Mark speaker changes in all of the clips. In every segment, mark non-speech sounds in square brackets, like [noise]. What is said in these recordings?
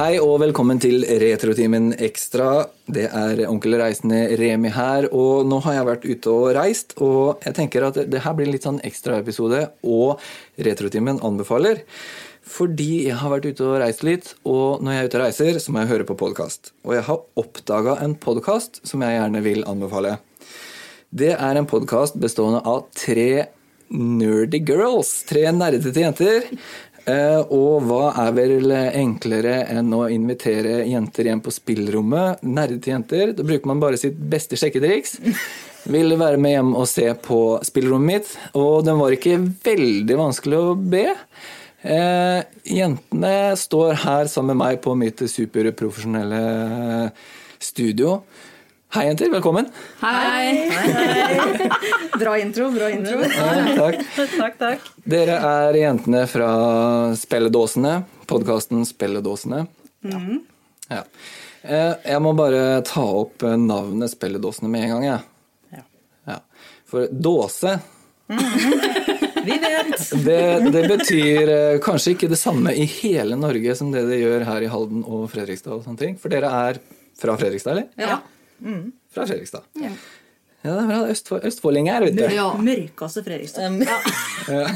Speaker 1: Hei og velkommen til Retrotimen Ekstra. Det er onkel Reisende Remi her. Og nå har jeg vært ute og reist, og jeg tenker at det her blir en litt sånn ekstraepisode. Og Retrotimen anbefaler. Fordi jeg har vært ute og reist litt, og når jeg er ute og reiser, så må jeg høre på podkast. Og jeg har oppdaga en podkast som jeg gjerne vil anbefale. Det er en podkast bestående av tre nerdy girls. Tre nerdete jenter. Eh, Og hva er vel enklere enn å invitere jenter hjem på spillrommet? Nerdete jenter. Da bruker man bare sitt beste sjekketriks. Ville være med hjem og se på spillrommet mitt, og den var ikke veldig vanskelig å be. Eh, jentene står her sammen med meg på mitt superprofesjonelle studio. Hei, jenter. Velkommen.
Speaker 2: Hei!
Speaker 3: Bra intro, bra intro.
Speaker 1: Ja, takk.
Speaker 3: Takk, takk.
Speaker 1: Dere er jentene fra Spelledåsene, podkasten Spelledåsene. Ja. Eh, Jeg må bare ta opp eh, navnet Spelledåsene med en gang, jeg.
Speaker 3: Ja.
Speaker 1: Ja. For dåse,
Speaker 3: [laughs] Vi vet.
Speaker 1: det, det betyr eh, kanskje ikke det samme i hele Norge som det det gjør her i Halden og Fredrikstad og sånne ting. For dere er fra Fredrikstad, eller?
Speaker 3: Ja.
Speaker 1: Fra Fredrikstad. Ja, det er bra. Østfold, Østfolding er, vet du.
Speaker 2: Ja.
Speaker 3: Mørkeste Fredrikstad.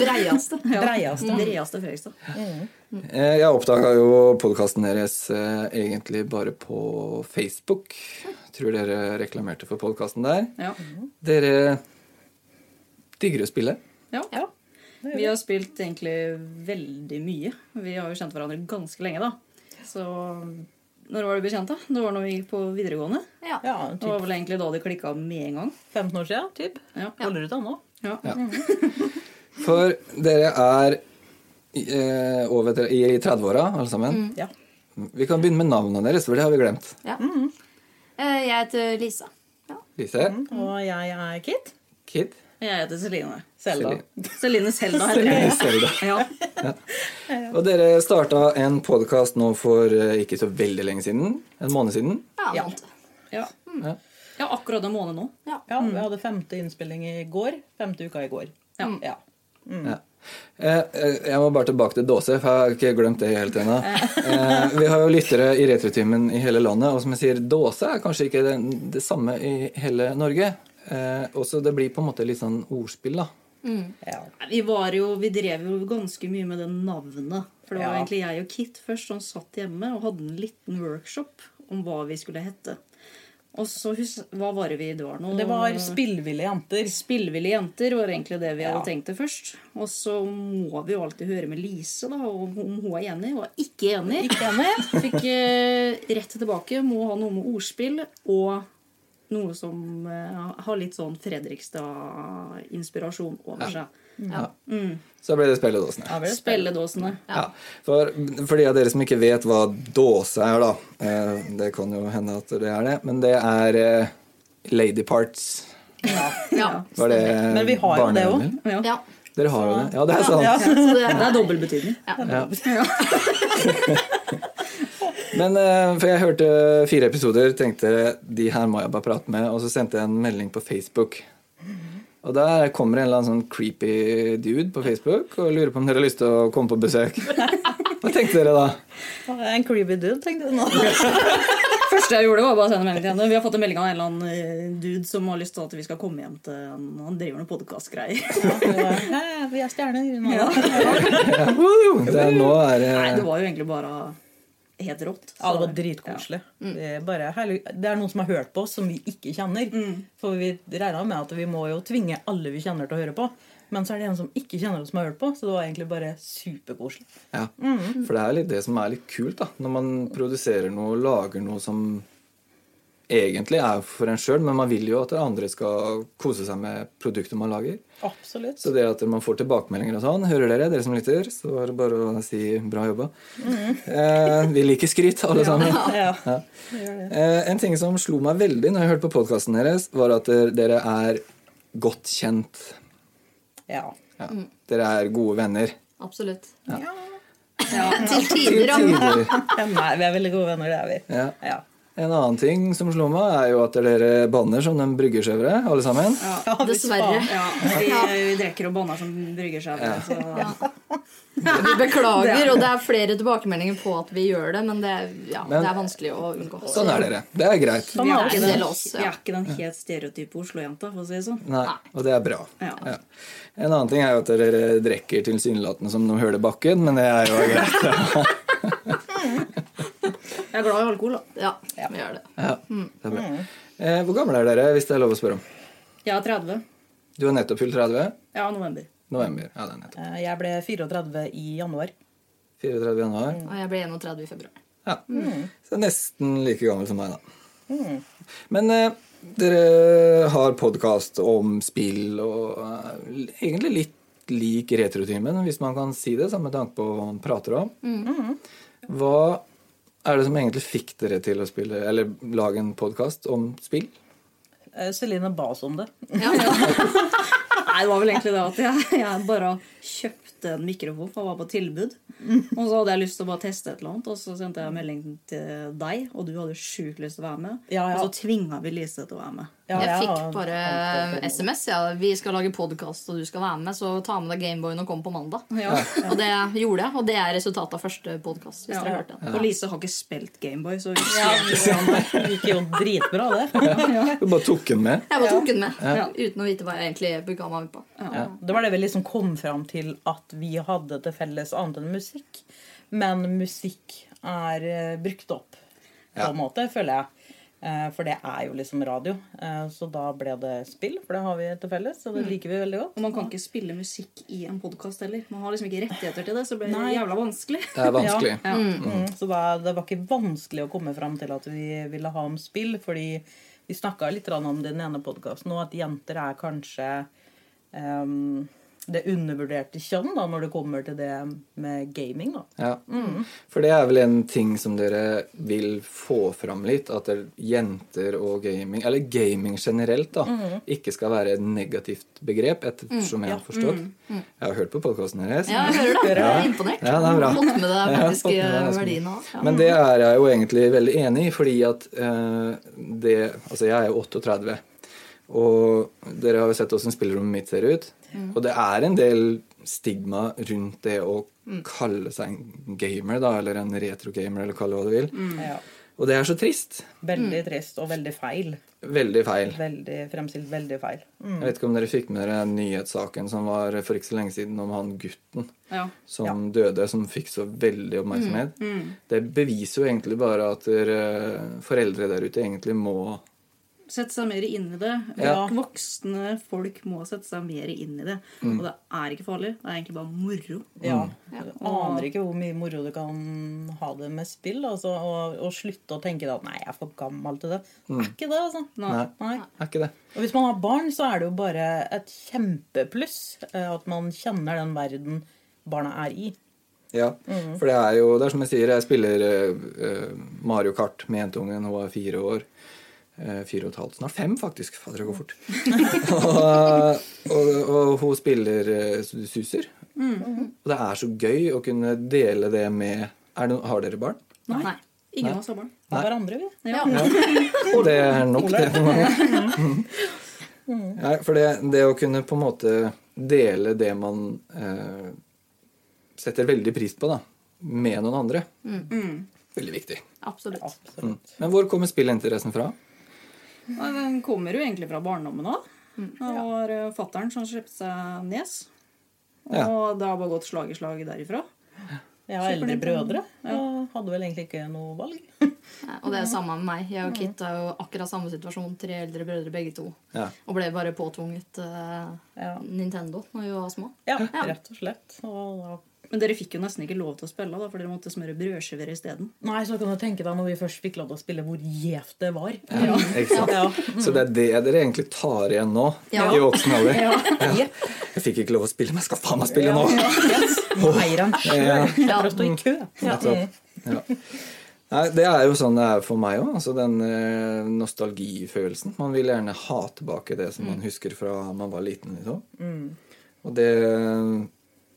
Speaker 2: Breiaste.
Speaker 3: Breiaste, breiaste Fredrikstad.
Speaker 1: Eh, Jeg oppdaga jo podkasten deres eh, egentlig bare på Facebook. Tror dere reklamerte for podkasten der.
Speaker 3: Ja.
Speaker 1: Dere digger å spille.
Speaker 3: Ja. Vi har spilt egentlig veldig mye. Vi har jo kjent hverandre ganske lenge, da. Så når var du bekjent, da? Det var når vi gikk på videregående.
Speaker 2: Ja.
Speaker 4: Ja,
Speaker 3: Det var vel egentlig da det klikka med en gang.
Speaker 4: 15 år siden, typ.
Speaker 3: Ja.
Speaker 4: Holder ut ennå.
Speaker 3: Ja.
Speaker 1: For dere er eh, over tre- i 30-åra, alle sammen.
Speaker 4: Ja.
Speaker 1: Vi kan begynne med navnene deres, for det har vi glemt.
Speaker 2: Ja. Eh, Jeg heter Lisa. Ja.
Speaker 1: Lise,
Speaker 4: Og jeg er Kit.
Speaker 1: Kid,
Speaker 3: Jeg heter Celine.
Speaker 4: Selda.
Speaker 3: Celine Selda heter jeg.
Speaker 1: Selda.
Speaker 3: Ja.
Speaker 1: Og dere starta en podkast nå for eh, ikke så veldig lenge siden. En måned siden.
Speaker 2: Ja.
Speaker 4: Ja.
Speaker 2: vant.
Speaker 3: Ja.
Speaker 1: Ja.
Speaker 3: ja, akkurat en måned nå.
Speaker 2: ja.
Speaker 4: Ja, vi hadde femte innspilling i går. Femte uka i går.
Speaker 3: Ja.
Speaker 4: Ja.
Speaker 1: Ja. Eh, eh, Jeg må bare tilbake til Dåse, for jeg har ikke glemt det helt ennå. Eh, Vi har jo lyttere i Retrotimen i hele landet, og som jeg sier, Dåse er kanskje ikke det, det samme i hele Norge. Eh, Også det blir på en måte litt sånn ordspill, da.
Speaker 4: ja.
Speaker 3: Vi var jo, vi drev jo ganske mye med det navnet. For det var
Speaker 4: Ja.
Speaker 3: egentlig jeg og Kit først som satt hjemme og hadde en liten workshop om hva vi skulle hete. Og så hus Hva var det vi Det var noe
Speaker 4: Det var spillville jenter.
Speaker 3: Spillvillige jenter var egentlig det vi hadde
Speaker 4: Ja.
Speaker 3: tenkt til først. Og så må vi jo alltid høre med Lise da, om om hun er enig. Hun var ikke enig.
Speaker 4: Ikke enig?
Speaker 3: [laughs] Fikk eh, rett tilbake. Må ha noe med ordspill og noe som eh, har litt sånn Fredrikstad-inspirasjon over seg.
Speaker 1: Så ble det spilledåsene.
Speaker 4: Mm. Ja, vel.
Speaker 3: Spilledåsene.
Speaker 1: Ja. For, for de av dere som ikke vet hva dåse er, da. eh, Det kan jo hende at det er det, men det er eh, lady parts.
Speaker 2: Ja.
Speaker 1: Var det
Speaker 4: Men vi har jo det
Speaker 1: barnehjemmet?
Speaker 4: også.
Speaker 3: Ja.
Speaker 2: ja.
Speaker 1: Dere har jo det. Ja, det er sant.
Speaker 4: Ja.
Speaker 2: Så det,
Speaker 3: Det er dobbeltbetydning.
Speaker 1: [laughs] Men eh, for jeg hørte fire episoder, tenkte de her må jeg bare prate med, og så sendte jeg en melding på Facebook. Og der kommer en eller annen sånn creepy dude på Facebook og lurer på om dere har lyst til å komme på besøk. Hva tenkte dere da?
Speaker 4: En creepy dude, tenkte du nå.
Speaker 3: [laughs] første jeg gjorde, var bare å sende melding til henne. Vi har fått en melding av en eller annen eh, dude som har lyst til at vi skal komme hjem til han. Han driver noen podkastgreier.
Speaker 4: [laughs] Ja, vi er stjerner. nå. Ja,
Speaker 1: Ja, woo! Det er, nå er det
Speaker 3: Nei, det var jo egentlig bare helt rått.
Speaker 4: det var dritkoselig.
Speaker 3: Mm.
Speaker 4: Det, er bare herlig. det er noen som har hørt på oss som vi ikke kjenner.
Speaker 3: Mm.
Speaker 4: For vi regna med at vi må jo tvinge alle vi kjenner til å høre på. Men så er det en som ikke kjenner oss som har hørt på, så det var egentlig bare superkoselig.
Speaker 1: ja. For det er litt det som er litt kult, da. Når man produserer noe, lager noe som egentlig er for en sjøl, men man vil jo at andre skal kose seg med produktet man lager.
Speaker 4: Absolutt.
Speaker 1: Så det at man får tilbakemeldinger og sånn, hører dere, dere som lytter, så er det bare å si bra jobba. Eh, vi liker skryt, alle sammen.
Speaker 4: Mm. Ja.
Speaker 1: Ja. Eh, en ting som slo meg veldig når jeg hørte på podkasten deres, var at dere- dere er godt kjent.
Speaker 4: Ja.
Speaker 1: Ja.
Speaker 4: Mm.
Speaker 1: Dere er gode venner.
Speaker 2: absolutt.
Speaker 4: ja.
Speaker 2: Til tider, da. [laughs]
Speaker 1: Tider.
Speaker 4: [laughs] Ja, Nei, vi er veldig gode venner, det er vi.
Speaker 1: Ja.
Speaker 4: Ja.
Speaker 1: En annen ting som slo meg, er jo at dere banner som de bryggesjøvere, alle sammen.
Speaker 4: Ja, vi
Speaker 2: Dessverre.
Speaker 4: spa-
Speaker 3: Ja, de eh, drikker og banner som brygger seg. Så,
Speaker 2: Ja. [laughs] Vi beklager, og det er flere tilbakemeldinger på at vi gjør det, men det er, ja,
Speaker 1: Men-
Speaker 2: det er vanskelig å unngå.
Speaker 1: Sånn er dere. Det er greit.
Speaker 3: vi,
Speaker 4: er
Speaker 3: er
Speaker 4: det
Speaker 3: ikke
Speaker 2: en
Speaker 3: den,
Speaker 2: del av oss, ja.
Speaker 3: vi er ikke den helt stereotype Oslo-jenta, for å si det sånn.
Speaker 1: Nei, og det er bra.
Speaker 3: Ja.
Speaker 1: Ja. En annen ting er jo at dere drikker tilsynelatende som noen høl i bakken, men det
Speaker 4: [laughs]
Speaker 1: er jo greit.
Speaker 3: Jeg er glad i alkohol, da.
Speaker 2: Ja, vi gjør det.
Speaker 1: Ja, det er bra. Eh, Hvor gamle er dere, hvis det er lov å spørre om?
Speaker 3: Jeg er 30.
Speaker 1: Du har nettopp fylt 30?
Speaker 3: Ja, november.
Speaker 1: November. Ja, det er nettopp.
Speaker 4: Eh, Jeg ble 34 i januar.
Speaker 1: 34 januar.
Speaker 2: Og jeg ble 31 i februar.
Speaker 1: Ja. Så nesten like gammel som meg, da. Men eh, dere har podkast om spill og eh, egentlig litt lik Retrotimen, hvis man kan si det, samme tanke på hva man prater om. Hva er det som egentlig fikk dere til å spille, eller lage en podkast om spill?
Speaker 4: Eh, Celine ba oss om det.
Speaker 3: Nei, det var vel egentlig det at jeg, jeg bare kjøpte en mikrofon, for den var på tilbud. Og så hadde jeg lyst til å bare teste et eller annet, og så sendte jeg en melding til deg, og du hadde sjukt lyst til å være med.
Speaker 4: Ja, ja.
Speaker 3: Og så tvinga vi Lise til å være med.
Speaker 4: Ja,
Speaker 2: Jeg fikk
Speaker 4: har-
Speaker 2: bare SMS. Ja. Vi skal lage podkast, og du skal være med, så ta med deg Gameboyen og kom på mandag.
Speaker 3: Ja.
Speaker 2: Og det gjorde jeg, og det er resultatet av første podkast. Hvis
Speaker 3: Ja.
Speaker 2: dere har hørt den.
Speaker 3: Og Lise har ikke spilt Gameboy, så vi
Speaker 4: Ja, [laughs] det gikk jo dritbra, det.
Speaker 1: Du bare tok den med.
Speaker 2: Jeg bare tok den med
Speaker 3: Ja.
Speaker 2: uten å vite hva jeg egentlig bygga meg ut på.
Speaker 4: Det var det vi liksom kom fram til at vi hadde til felles annet enn musikk. Men musikk er eh, brukt opp, på
Speaker 1: Ja.
Speaker 4: en måte, føler jeg. Eh, For det er jo liksom radio. Eh, Så da ble det spill, for det har vi til felles,
Speaker 2: Mm.
Speaker 4: og det liker vi veldig godt.
Speaker 3: Og man kan ikke spille musikk i en podkast heller. Man har liksom ikke rettigheter til det, så det blir
Speaker 4: Nei.
Speaker 3: jævla vanskelig.
Speaker 1: Det er vanskelig.
Speaker 3: Ja.
Speaker 4: Mm, Så da, det var ikke vanskelig å komme fram til at vi ville ha om spill, fordi vi snakka litt grann om det i den ene podkasten òg, at jenter er kanskje ehm, det undervurderte kjønn da, når det kommer til det med gaming. da.
Speaker 1: Ja. For det er vel en ting som dere vil få fram litt, at det- jenter og gaming, eller gaming generelt, da, ikke skal være et negativt begrep, ettersom jeg har forstått. Jeg har hørt på podkasten deres.
Speaker 2: Ja, jeg hører det. Jeg er imponert.
Speaker 1: Ja, det er bra.
Speaker 2: Jeg har Fått med deg
Speaker 1: Jeg har
Speaker 2: faktisk
Speaker 1: fått med meg det.
Speaker 2: verdiene av. Ja.
Speaker 1: Men det er jeg jo egentlig veldig enig i, fordi at eh, det Altså, jeg er jo 38, og dere har jo sett åssen spillerommet mitt ser ut. Og det er en del stigma rundt det å
Speaker 2: Mm.
Speaker 1: kalle seg en gamer, da, eller en retrogamer, eller kalle det hva du vil.
Speaker 2: Mm.
Speaker 4: Ja.
Speaker 1: Og det er så trist.
Speaker 4: Veldig trist og veldig feil.
Speaker 1: Veldig feil.
Speaker 4: Veldig, fremstilt veldig feil.
Speaker 1: Jeg
Speaker 4: Mm.
Speaker 1: vet ikke om dere fikk med dere den nyhetssaken som var for ikke så lenge siden om han gutten
Speaker 3: Ja. Mm,
Speaker 1: som døde, som fikk så veldig oppmerksomhet. Det beviser jo egentlig bare at dere, eh, foreldre der ute egentlig må
Speaker 3: Sette seg mer inn i det.
Speaker 1: Ja.
Speaker 3: Voksne folk må sette seg mer inn i det. Og det er ikke farlig. Det er egentlig bare moro.
Speaker 4: Ja. Jeg aner ikke hvor mye moro du kan ha det med spill. Altså, og, og slutte å tenke at 'nei, jeg er for gammel til det'. Er ikke det, altså.
Speaker 1: Nei.
Speaker 4: Nei.
Speaker 1: Er ikke det?
Speaker 4: Og hvis man har barn, så er det jo bare et kjempepluss eh, at man kjenner den verden barna er i.
Speaker 1: Ja. For det er jo det er som jeg sier, jeg spiller eh, eh, Mario Kart med jentungen. Hun er fire år. Eh, fire og et halvt, snart fem, faktisk. Fader, det går fort. og, eh, og, og hun spiller eh, su- Suser. Og det er så gøy å kunne dele det med er det, no- Har dere barn?
Speaker 2: Nei.
Speaker 3: Ingen av oss har barn.
Speaker 4: Av hverandre, vi.
Speaker 2: Ja.
Speaker 1: [laughs] Det er nok, det. for mange. [laughs] Nei, for det, det å kunne på en måte dele det man eh, setter veldig pris på, da, med noen andre, veldig viktig.
Speaker 2: Absolutt.
Speaker 4: Absolutt.
Speaker 1: Men hvor kommer spillinteressen fra?
Speaker 3: Nei, Den kommer jo egentlig fra barndommen av. Det var eh, fatteren som kjøpte seg nes. Og
Speaker 1: Ja.
Speaker 3: det har bare gått slag i slag derifra.
Speaker 4: Jeg har eldre brødre. Og hadde vel egentlig ikke noe valg.
Speaker 2: Nei, Og det er samme med meg. Jeg og Kit er jo akkurat samme situasjon. Tre eldre brødre begge to.
Speaker 1: Ja.
Speaker 2: Og ble bare påtvunget eh,
Speaker 4: Ja.
Speaker 2: Nintendo når vi var små.
Speaker 4: Ja, rett og slett. Og da
Speaker 3: Men dere fikk jo nesten ikke lov til å spille, da, for dere måtte smøre brødskiver isteden.
Speaker 4: Nei, så kan du tenke deg når vi først fikk lov til å spille, hvor gjevt det var.
Speaker 1: Ikke sant?
Speaker 4: Ja.
Speaker 1: Så det er det dere egentlig tar igjen nå,
Speaker 2: Ja.
Speaker 1: i voksen alder. [laughs]
Speaker 4: Ja.
Speaker 1: Jeg fikk ikke lov å spille, men jeg skal faen meg spille nå!
Speaker 4: Eieren sjøl.
Speaker 2: [laughs] Ja.
Speaker 4: For å stå i kø.
Speaker 1: Nettopp. Ja. Nei, det er jo sånn det er for meg òg. Altså den eh, nostalgifølelsen. Man vil gjerne ha
Speaker 2: Mm.
Speaker 1: tilbake det som man husker fra man var liten. Liksom. Og det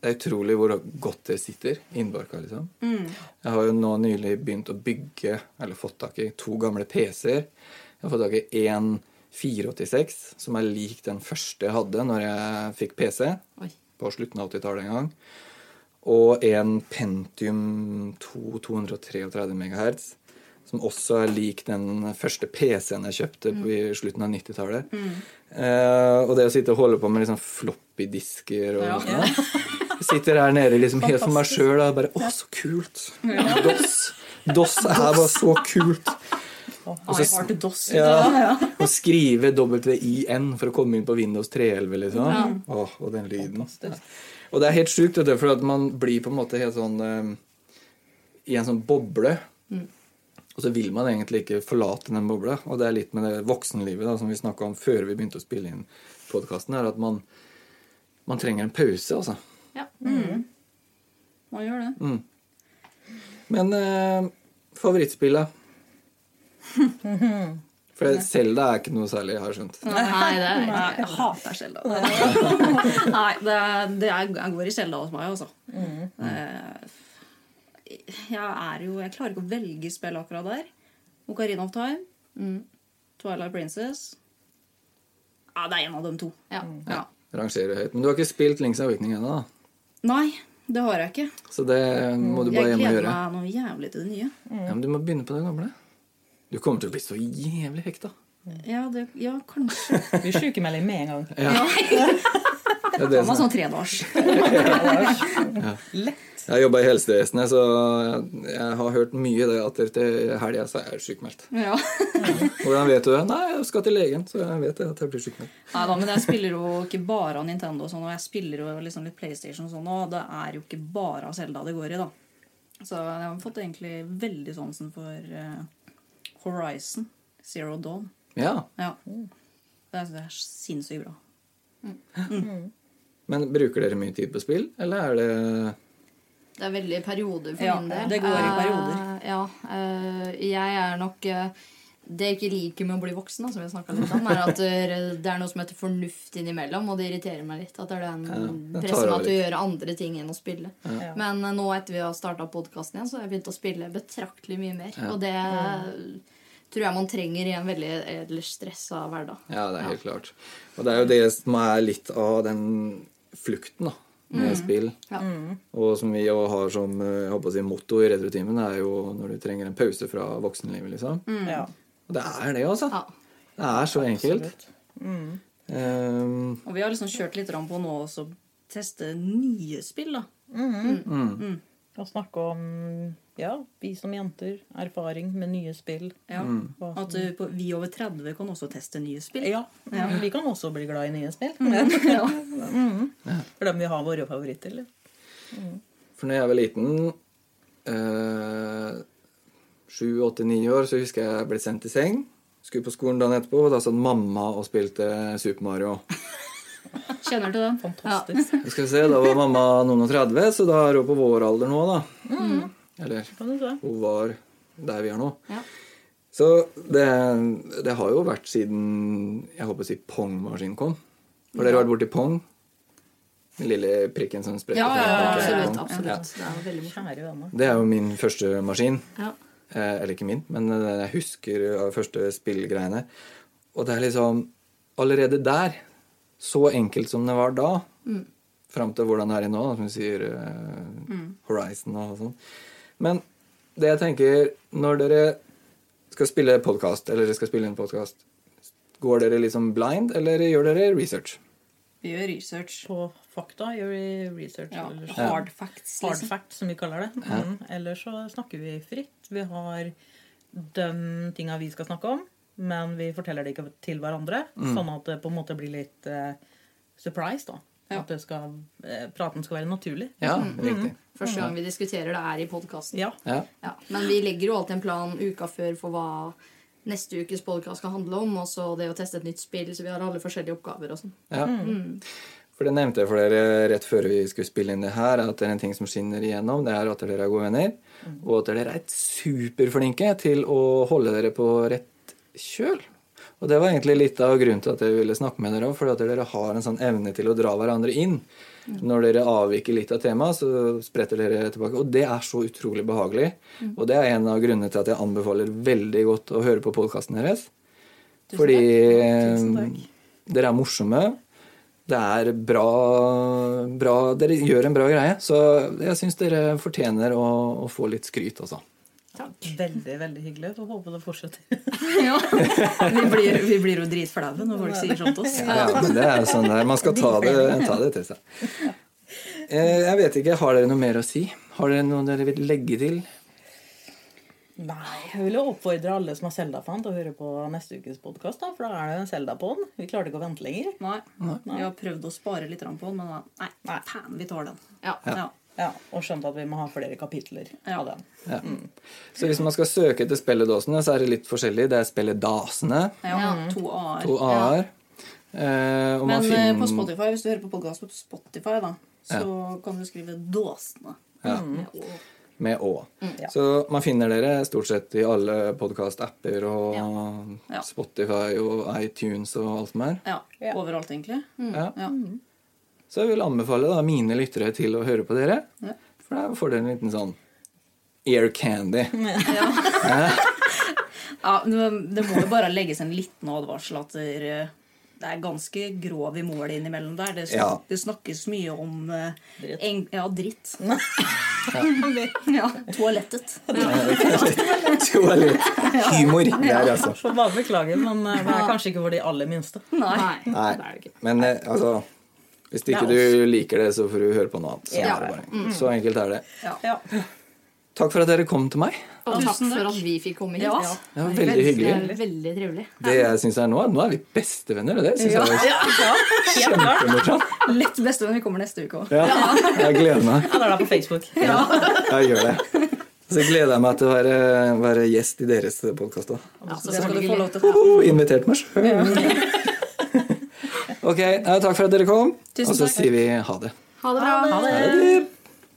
Speaker 1: Det er utrolig hvor godt det sitter innbarka. liksom.
Speaker 2: Mm.
Speaker 1: Jeg har jo nå nylig begynt å bygge, eller fått tak i, to gamle PC-er. Jeg har fått tak i en 486, som er lik den første jeg hadde når jeg fikk PC.
Speaker 2: Oi.
Speaker 1: På slutten av 80-tallet en gang. Og en Pentium 2 233 MHz, som også er lik den første PC-en jeg kjøpte på- i slutten av 90-tallet. Eh, og det å sitte og holde på med liksom floppy-disker og sånt der. Sitter her nede liksom helt for meg sjøl og bare Å, så kult! DOS. DOS er bare så kult! Og så-
Speaker 3: I heart DOS.
Speaker 1: ja. Å skrive WIN for å komme inn på Windows 311, liksom. Åh, og den lyden. Og det er helt sjukt, vet du, for at man blir på en måte helt sånn eh, I en sånn boble. Og så vil man egentlig ikke forlate den bobla. Og det er litt med det voksenlivet da, som vi snakka om før vi begynte å spille inn podkasten, er at man, man trenger en pause, altså.
Speaker 2: Ja.
Speaker 1: Mm.
Speaker 3: Man gjør det.
Speaker 1: Men eh, favorittspillet [laughs] For Selda er ikke noe særlig, har jeg skjønt.
Speaker 2: Nei, det er
Speaker 3: Nei, jeg hater Selda. [laughs] Nei, det, er- det er, jeg går i Selda hos meg, altså. Eh, Jeg er jo Jeg klarer ikke å velge spill akkurat der. Ocarina of Time. Twilight Princess. Ja, det er en av dem to.
Speaker 2: ja.
Speaker 3: Ja.
Speaker 1: Rangerer høyt. Men du har ikke spilt Links Awakening ennå, da.
Speaker 3: Nei, det har jeg ikke.
Speaker 1: Så det må du bare
Speaker 3: Jeg
Speaker 1: hjem og
Speaker 3: gleder
Speaker 1: gjøre.
Speaker 3: meg Mm. noe jævlig til det nye.
Speaker 1: Ja, men du må begynne på det gamle. Du kommer til å bli så jævlig hekta.
Speaker 3: Ja, det, ja kanskje.
Speaker 4: Vi sykemelder med en gang.
Speaker 1: Det er
Speaker 3: Det
Speaker 1: det
Speaker 3: var
Speaker 1: som
Speaker 3: sånn tredagers.
Speaker 4: Lett.
Speaker 1: jeg jobba i helsevesenet, så jeg har hørt mye det at til helga så er jeg sjukmeldt.
Speaker 3: [laughs] Ja.
Speaker 1: Hvordan vet du det? Nei, jeg skal til legen, så jeg vet det at jeg blir sjukmeldt.
Speaker 3: Nei da, men jeg spiller jo ikke bare av Nintendo og sånn, og jeg spiller jo liksom litt PlayStation og sånn, og det er jo ikke bare av Zelda det går i, da. Så jeg har fått egentlig veldig sansen for eh, Horizon Zero Dawn.
Speaker 1: Ja.
Speaker 3: Ja. Det er, det er sinnssykt bra.
Speaker 1: Men bruker dere mye tid på spill, eller er det
Speaker 2: Det er veldig perioder for
Speaker 3: Ja,
Speaker 2: min del.
Speaker 3: det går i perioder.
Speaker 2: Eh, ja, eh, jeg er nok eh, Det jeg ikke liker med å bli voksen, da, som jeg snakket litt om, er at eh, det er noe som heter fornuft innimellom, og det irriterer meg litt. At det er den
Speaker 1: den tar
Speaker 2: presser
Speaker 1: over
Speaker 2: meg til å
Speaker 1: litt.
Speaker 2: gjøre andre ting enn å spille. Men eh, nå etter vi har starta podkasten igjen, så har jeg begynt å spille betraktelig mye mer. Og det tror jeg man trenger i en veldig ellers stressa hverdag.
Speaker 1: Ja, det er helt klart. Og det er jo det som er litt av den flukten da,
Speaker 3: Mm.
Speaker 1: med spill.
Speaker 2: Ja.
Speaker 1: Og som vi jo har som eh, jeg håper å si, motto i Retrotimen, er jo når du trenger en pause fra voksenlivet, liksom.
Speaker 4: Ja.
Speaker 1: Og det er det, altså.
Speaker 2: Ja.
Speaker 1: Det er så enkelt. Ehm,
Speaker 3: Og vi har liksom kjørt litt grann på nå også teste nye spill, da.
Speaker 4: Å snakke om ja, vi som jenter, erfaring med nye spill.
Speaker 3: Ja.
Speaker 1: Mm.
Speaker 4: Hva
Speaker 3: At eh, på, vi over 30 kan også teste nye spill.
Speaker 4: Ja, Vi kan også bli glad i nye spill.
Speaker 3: Mm.
Speaker 4: [laughs] Mhm. For dem vi har våre favoritter. Eller?
Speaker 1: for når jeg var liten, eh, sju, åtte, ni år, så husker jeg jeg ble sendt i seng. Skulle på skolen dagen etterpå, og da satt mamma og spilte Super Mario.
Speaker 3: Kjenner til den.
Speaker 4: Fantastisk.
Speaker 1: Jeg skal se, Da var mamma noen og 30, så da er hun på vår alder nå, da. Eller
Speaker 4: Kan du se.
Speaker 1: hun var der vi er nå.
Speaker 2: Ja.
Speaker 1: Så det, det har jo vært siden jeg håper å si Pong-maskinen kom. Har dere vært borti Pong? Den lille prikken som spretter
Speaker 2: Ja, ja, ja,
Speaker 1: frem og tilbake.
Speaker 2: absolutt.
Speaker 1: Ja.
Speaker 2: absolutt. Det er veldig morsomt.
Speaker 4: Kjære venner.
Speaker 1: Det er jo min første maskin.
Speaker 2: Ja.
Speaker 1: Eh, eller ikke min, men eh, jeg husker av første spillgreiene. Og det er liksom Allerede der, så enkelt som det var da, fram til hvordan det er i nå, da, som du sier eh, Horizon og sånn. Men det jeg tenker Når dere skal spille podkast, eller dere skal spille en podkast, går dere liksom blind, eller gjør dere research?
Speaker 3: Vi gjør research.
Speaker 4: På fakta gjør vi research.
Speaker 3: Ja.
Speaker 4: eller så-
Speaker 3: Hard facts,
Speaker 4: Hard
Speaker 3: liksom.
Speaker 4: fact, som vi kaller det. Mm. Eller så snakker vi fritt. Vi har de tinga vi skal snakke om, men vi forteller det ikke til hverandre. Sånn at det på en måte blir litt eh, surprise, da. At det skal, eh, praten skal være naturlig.
Speaker 1: Ja, riktig.
Speaker 2: Første gang vi diskuterer det, er i podkasten.
Speaker 4: Ja.
Speaker 1: Ja.
Speaker 2: Ja, men vi legger jo alltid en plan uka før for hva neste ukes podcast skal handle om. Og så det å teste et nytt spill, så vi har alle forskjellige oppgaver og sånn.
Speaker 1: Ja. For det nevnte jeg for dere rett før vi skulle spille inn det her, at det er en ting som skinner igjennom, det er at dere er gode venner, og at dere er superflinke til å holde dere på rett kjøl. Og det var egentlig litt av grunnen til at jeg ville snakke med dere òg, fordi at dere har en sånn evne til å dra hverandre inn. Når dere avviker litt av temaet, så spretter dere tilbake. Og det er så utrolig behagelig. Og det er en av grunnene til at jeg anbefaler veldig godt å høre på podkasten deres. Fordi eh,
Speaker 4: Tusen takk.
Speaker 1: dere er morsomme. Det er bra, bra Dere gjør en bra greie. Så jeg syns dere fortjener å, å få litt skryt, altså.
Speaker 4: Veldig, veldig hyggelig. Får håpe det fortsetter.
Speaker 3: [laughs]
Speaker 4: [laughs]
Speaker 3: Ja. Vi blir, vi blir jo dritflaue når folk sier sånt til oss.
Speaker 1: Ja, men det er jo sånn der. Man skal ta
Speaker 3: [laughs]
Speaker 1: det, ta det til seg. Eh, Jeg vet ikke, Har dere noe mer å si? Har dere noe dere vil legge til?
Speaker 4: Nei, jeg vil jo oppfordre alle som har Selda-fan, til å høre på neste ukes podkast. For da er det en Selda-pod. Vi klarte ikke å vente lenger.
Speaker 3: Nei. Vi har prøvd å spare litt grann på den, men nei, nei, faen, vi tar den.
Speaker 2: Ja.
Speaker 3: Ja.
Speaker 4: Ja, Og skjønte at vi må ha flere kapitler av den.
Speaker 1: Ja.
Speaker 3: Mm.
Speaker 1: Så hvis man skal søke etter spilledåsene, så er det litt forskjellig. Det er spilledasene,
Speaker 3: Ja, To A-er.
Speaker 1: to a-er. Eh, og man
Speaker 3: Men eh, på
Speaker 1: finner
Speaker 3: Spotify, hvis du hører på podkast på Spotify, da, så kan du skrive 'Dåsene'. Med Å.
Speaker 1: med å.
Speaker 4: ja.
Speaker 1: Så man finner dere stort sett i alle podkast-apper og
Speaker 3: Ja.
Speaker 1: Spotify og iTunes og alt som er.
Speaker 3: Ja,
Speaker 4: Ja.
Speaker 3: Overalt, egentlig.
Speaker 1: Ja.
Speaker 3: Ja.
Speaker 1: Så jeg vil anbefale da mine lyttere til å høre på dere.
Speaker 3: Ja.
Speaker 1: For da får dere en liten sånn ear candy.
Speaker 3: Ja, men det må jo bare legges en liten advarsel at det er- det er ganske grov i målet innimellom der. Det, sn
Speaker 1: Ja.
Speaker 3: det snakkes mye om eh,
Speaker 4: Dritt.
Speaker 3: eng- [laughs] ja, dritt. ja, toalettet.
Speaker 1: Toalett. Humor der, altså.
Speaker 4: Får bare beklage, men eh, det er kanskje ikke for de aller minste.
Speaker 3: [laughs] Nei.
Speaker 2: Nei.
Speaker 1: Nei.
Speaker 2: Det er det ikke.
Speaker 1: Men eh, altså Hvis ikke
Speaker 4: Det er
Speaker 1: du liker det, så får du høre på noe annet. Så,
Speaker 4: Ja.
Speaker 1: er det bare. så enkelt er det.
Speaker 4: Ja.
Speaker 1: Takk for at dere kom til meg.
Speaker 2: Og takk
Speaker 3: Tusen
Speaker 2: for at vi fikk komme hit.
Speaker 3: Ja.
Speaker 1: Det var veldig
Speaker 2: Det
Speaker 1: hyggelig.
Speaker 2: er veldig trivelig.
Speaker 1: Det jeg synes er Nå nå er vi bestevenner, og det syns jeg var kjempemorsomt.
Speaker 3: Lett bestevenn. Vi kommer neste uke òg.
Speaker 1: Ja. Jeg gleder meg.
Speaker 4: Eller da på Facebook.
Speaker 1: Jeg gjør det. Så gleder jeg meg til å være, være gjest i deres podkast òg.
Speaker 2: Ja,
Speaker 3: Så skal du få lov til
Speaker 1: invitert meg sjøl. [laughs] Ok, eh, takk for at dere kom.
Speaker 3: Tusen
Speaker 1: Og så
Speaker 3: takk.
Speaker 1: sier vi ha det.
Speaker 2: Ha det bra.
Speaker 1: Ha det.